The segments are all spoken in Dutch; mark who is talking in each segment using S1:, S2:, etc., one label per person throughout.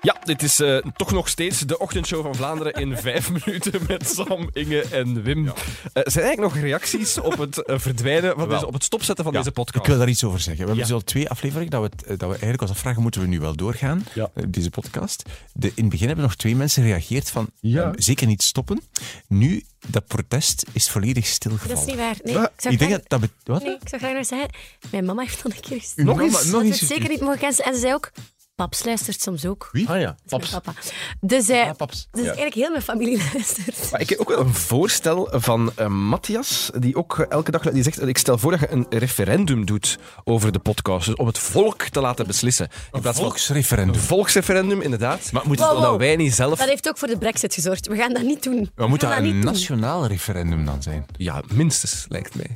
S1: Ja, dit is eh, toch nog steeds de ochtendshow van Vlaanderen in vijf minuten met Sam, Inge en Wim. Eh, zijn er eigenlijk nog reacties op het eh, verdwijnen, van
S2: Wel.
S1: deze, op het stopzetten van
S2: Ja.
S1: deze podcast?
S3: Ik wil daar iets over zeggen. We hebben
S2: Ja.
S3: dus al twee afleveringen dat we, het- eh, dat we eigenlijk ons afvragen, moeten we nu wel doorgaan,
S2: Ja.
S3: eh, deze podcast. De, in het begin hebben nog twee mensen gereageerd van,
S2: Ja.
S3: ehm, zeker niet stoppen. Nu, dat protest is volledig
S4: Dat is
S3: stilgevallen.
S4: niet waar. Nee,
S3: Ah,
S4: ik zou
S3: ik denk
S4: graag-
S3: dat dat... bet- Wat?
S4: Nee, ik zou graag nog zeggen, mijn mama heeft dat een keer gezien.
S3: Uw
S2: Nog
S3: mama-
S2: eens?
S3: Nog
S4: Dat
S3: eens.
S4: het zeker niet mogen kennen. En ze zei ook, paps luistert soms ook.
S3: Wie?
S2: Ah ja,
S4: Dat is
S2: paps.
S4: mijn papa. Dus, hij,
S3: Ah, paps.
S4: dus eigenlijk heel mijn familie luistert.
S1: Maar ik heb ook wel een voorstel van eh, Matthias, die ook eh, elke dag die zegt: Ik stel voor dat je een referendum doet over de podcast. Dus om het volk te laten beslissen. In plaats van een
S3: Volksreferendum.
S1: Oh. volksreferendum, inderdaad.
S3: Maar moet
S4: Wow,
S3: het
S4: wow.
S1: Omdat wij niet zelf.
S4: Dat heeft ook voor de brexit gezorgd. We gaan dat niet doen.
S3: Maar moet
S4: We
S3: dat
S4: gaan
S3: een
S4: niet doen.
S3: nationaal referendum dan zijn?
S1: Ja, minstens, lijkt mij.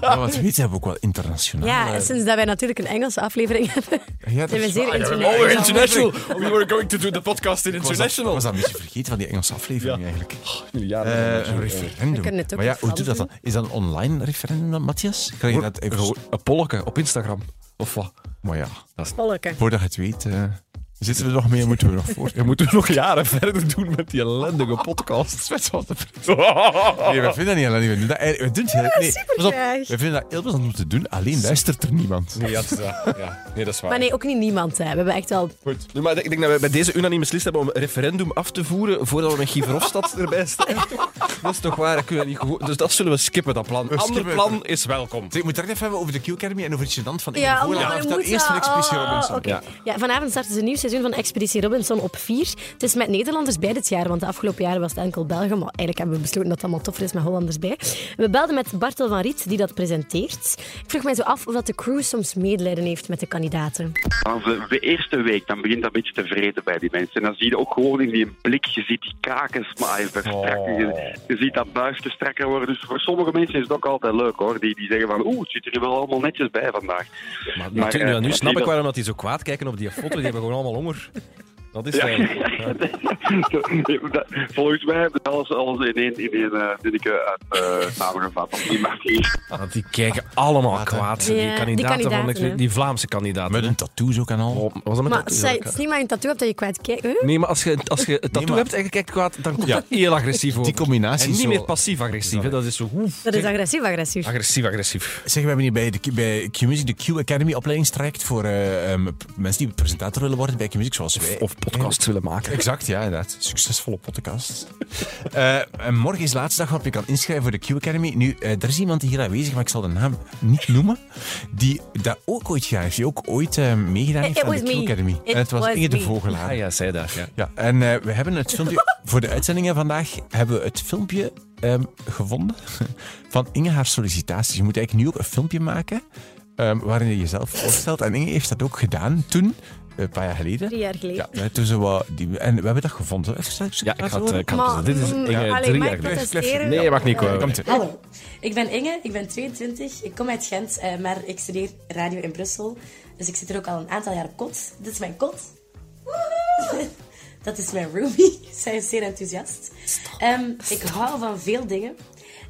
S3: Ja, want weet hebben we ook wel internationaal.
S4: Ja, en sinds dat wij natuurlijk een Engelse aflevering hebben,
S3: Ja,
S4: zijn we
S3: is
S4: zeer
S3: waar.
S4: internationaal.
S1: We were going to do the podcast in Oh,
S3: Ik was dat- Ik was dat een beetje vergeten van die Engelse aflevering eigenlijk. Eh, een referendum.
S4: We kunnen het ook
S3: maar ja,
S4: in
S3: hoe
S4: Frans
S3: doet dat dan? Is dat een online referendum dan, Matthias? Krijg je dat even...
S1: Een polken op Instagram. Of wat?
S3: Maar ja,
S4: Volken.
S3: voordat je het weet, eh, zitten we er nog mee en moeten we er nog voor.
S1: We moeten nog jaren verder doen met die ellendige podcast.
S3: Best wel te Nee, we vinden dat niet alleen. We doen dat eigenlijk- we doen het heel- nee, pas op,
S4: supergraag.
S3: we vinden dat heel plezant om te doen, alleen luistert er niemand.
S1: Ja, dat is waar. Ja. Nee, dat is waar.
S4: Maar nee, ook niet niemand. Hè. We hebben echt al...
S1: Goed. Nu, maar ik denk dat we bij deze unaniem beslist hebben om een referendum af te voeren voordat we met Guy Verhofstadt erbij staan. dat is toch waar, dat kunnen we niet gevo- Dus dat zullen we skippen, dat plan. Ander
S3: skippen.
S1: plan is welkom.
S3: Zeg, ik moet het even hebben over de Q-Academy en over het gênant van
S4: Ja,
S3: Ingevoel.
S4: allemaal,
S3: vertel
S4: we moeten-
S3: eerst van Expeditie
S4: oh,
S3: Robinson.
S4: oké.
S1: Ja.
S4: Ja, vanavond starten ze een nieuw seizoen van Expeditie Robinson op 4. Het is met Nederlanders bij dit jaar, want de afgelopen jaren was het enkel Belgen. Maar eigenlijk hebben we besloten dat het allemaal toffer is met Hollanders bij. We belden met Bartel van Riet, die dat presenteert. Ik vroeg mij zo af of dat de crew soms medelijden heeft met de kandidaten.
S5: Als de, de eerste week, dan begint dat een beetje te vreten bij die mensen. En dan zie je ook gewoon in die blik, je ziet die kaken smaaien
S1: Oh.
S5: verstrekken. Je, je ziet dat buisje strakker worden. Dus voor sommige mensen is het ook altijd leuk hoor. Die, die zeggen van, oeh, het zit er wel allemaal netjes bij vandaag.
S1: Maar,
S5: Maar,
S1: natuurlijk,
S5: eh,
S1: nu
S5: die
S1: snap ik
S5: dat-
S1: waarom dat die zo kwaad kijken op die foto. Die hebben gewoon allemaal honger. Dat is
S5: Ja.
S1: eh,
S5: Dat- Volgens mij hebben ze alles, alles in één, in één eh, zinnetje uit, eh, samengevat. Op die manier.
S1: want die kijken allemaal kwaad. die
S4: Ja, die
S1: kandidaten, van
S4: kandidaten,
S1: de,
S4: hè.
S1: die Vlaamse kandidaten.
S3: Met een tattoos ook en al.
S1: Oh, was dat met
S4: Maar
S1: tattoo?
S4: zij- het is niet maar een tattoo op dat je kwijt kijkt. Huh?
S1: Nee, maar als je, als je het tattoo
S3: maar-
S1: hebt en je kijkt kwaad, dan komt dat heel agressief over.
S3: Die combinatie
S1: En niet
S3: is zo-
S1: meer passief-agressief. hè. Dat is zo... oef,
S4: Dat is agressief-agressief.
S1: Agressief-agressief.
S3: Zeg, we hebben hier bij, de, Q- bij Q-Music de Q-Academy opleidingstraject voor eh, ehm, p- mensen die presentator willen worden bij Q-Music, zoals wij.
S1: Of podcasts willen maken.
S3: Exact, ja, inderdaad. Succesvolle podcast. Eh, en morgen is de laatste dag waarop je kan inschrijven voor de Q-Academy. Nu, eh, er is iemand hier aanwezig, maar ik zal de naam niet noemen, die dat ook ooit gedaan heeft. Die ook ooit eh, meegedaan
S4: It
S3: heeft aan
S4: was
S3: de
S4: me.
S3: Q-Academy.
S4: It
S3: En het was,
S4: was
S3: Inge de
S4: me.
S3: Vogelaar.
S1: Ah ja, zij daar. Ja.
S3: Ja, en eh, we hebben het filmpje... voor de uitzendingen vandaag hebben we het filmpje ehm, gevonden van Inge haar sollicitatie. Je moet eigenlijk nu ook een filmpje maken ehm, waarin je jezelf voorstelt. En Inge heeft dat ook gedaan toen, eh, een paar jaar geleden.
S4: Drie jaar geleden.
S3: Ja, hè, toen ze wat... Die, en we hebben dat gevonden. Even
S1: Ja, ik ga het... eh, Ik eh, ga het
S4: Maar,
S1: dit is
S4: mm,
S1: Inge,
S4: allee,
S1: drie
S4: maar
S1: jaar
S4: ik
S1: geleden.
S4: protesteren.
S1: Nee, mag niet komen.
S3: Komt ie.
S6: Hallo, ik ben Inge, ik ben 22, ik kom uit Gent, eh, maar ik studeer radio in Brussel. Dus ik zit er ook al een aantal jaar op kot. Dit is mijn kot. Woehoe! Dat is mijn roomie, zij is zeer enthousiast. Ehm, ik hou van veel dingen.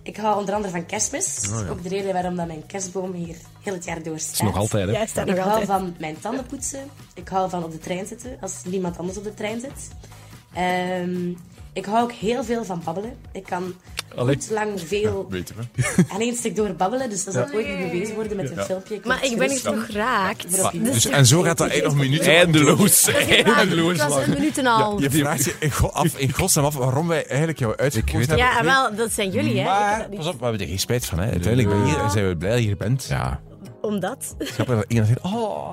S6: Ik hou onder andere van kerstmis. Dat is ook de reden waarom dat mijn kerstboom hier heel het jaar door staat.
S1: Oh, is nog altijd, hè?
S4: Jij staat
S6: Ik
S4: nog
S6: hou
S4: altijd.
S6: van mijn tanden poetsen. Ik hou van op de trein zitten als niemand anders op de trein zit. Ehm, ik hou ook heel veel van babbelen. Ik kan goed lang veel
S3: Weten we.
S6: aan één stuk door babbelen. Dus dat zal ooit niet bewezen worden met een filmpje. kan
S4: Maar
S6: het
S4: ik ben hier
S6: gerust
S4: toch geraakt.
S6: doen.
S4: Dus-
S3: Dus, en zo gaat dat eigenlijk nog minuten.
S1: Eindeloos.
S4: Het was een minuut en een half.
S3: Je vraagt je in, go- af, in godsnaam af waarom wij eigenlijk jou uitgekozen hebben.
S4: Ja, wel, dat zijn jullie, hè. Ik heb
S3: Maar,
S4: dat niet-
S3: pas op, we hebben er geen spijt van. Hè. Uiteindelijk ben je hier en zijn we blij dat je hier bent. Ja.
S4: Omdat...
S3: Snap je dat Inge zegt, oh...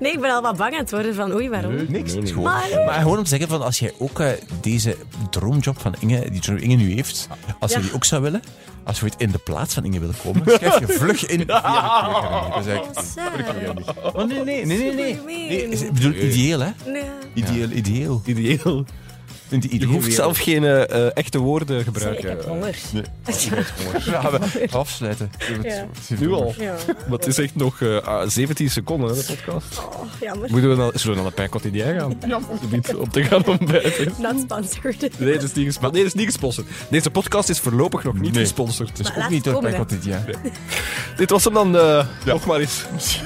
S4: Nee, ik ben al wat bang aan het worden van oei, waarom?
S3: Niks.
S1: Nee, nee,
S3: Gewoon.
S4: Maar ja.
S3: Maar gewoon om te zeggen, van, als jij ook eh, deze droomjob van Inge, die droom Inge nu heeft, als je
S4: Ja.
S3: die ook zou willen, als je ooit in de plaats van Inge wil komen, schrijf je vlug in. Ja. Dat is eigenlijk... Oh, nee, nee, nee, nee. nee. nee is- ik bedoel, ideeel, hè? Ideeel, ideeel.
S1: Ideeel.
S3: In die
S1: Je
S3: ideele
S1: hoeft zelf geen eh, eh, echte woorden
S4: Ik
S1: gebruiken.
S4: heb honger.
S3: wereld. Ja, we- afsluiten.
S1: Nu al.
S4: Ja,
S1: Want het is echt nog eh, ah, 17 seconden, hè, de podcast.
S4: jammer.
S1: Moeten we dan, zullen we dan naar Pijn Quotidien gaan? Ja. Niet op te gaan ontbijten.
S4: Not sponsored.
S1: Nee, dat is niet gesponsord. Nee, dat is niet gesponsord. Deze podcast is voorlopig nog niet
S3: Nee.
S1: gesponsord. Dus
S3: Dus ook
S4: laat
S3: niet door
S4: komen,
S3: bij
S4: hè.
S3: Cotid, ja.
S1: dit was hem dan eh, nog maar eens.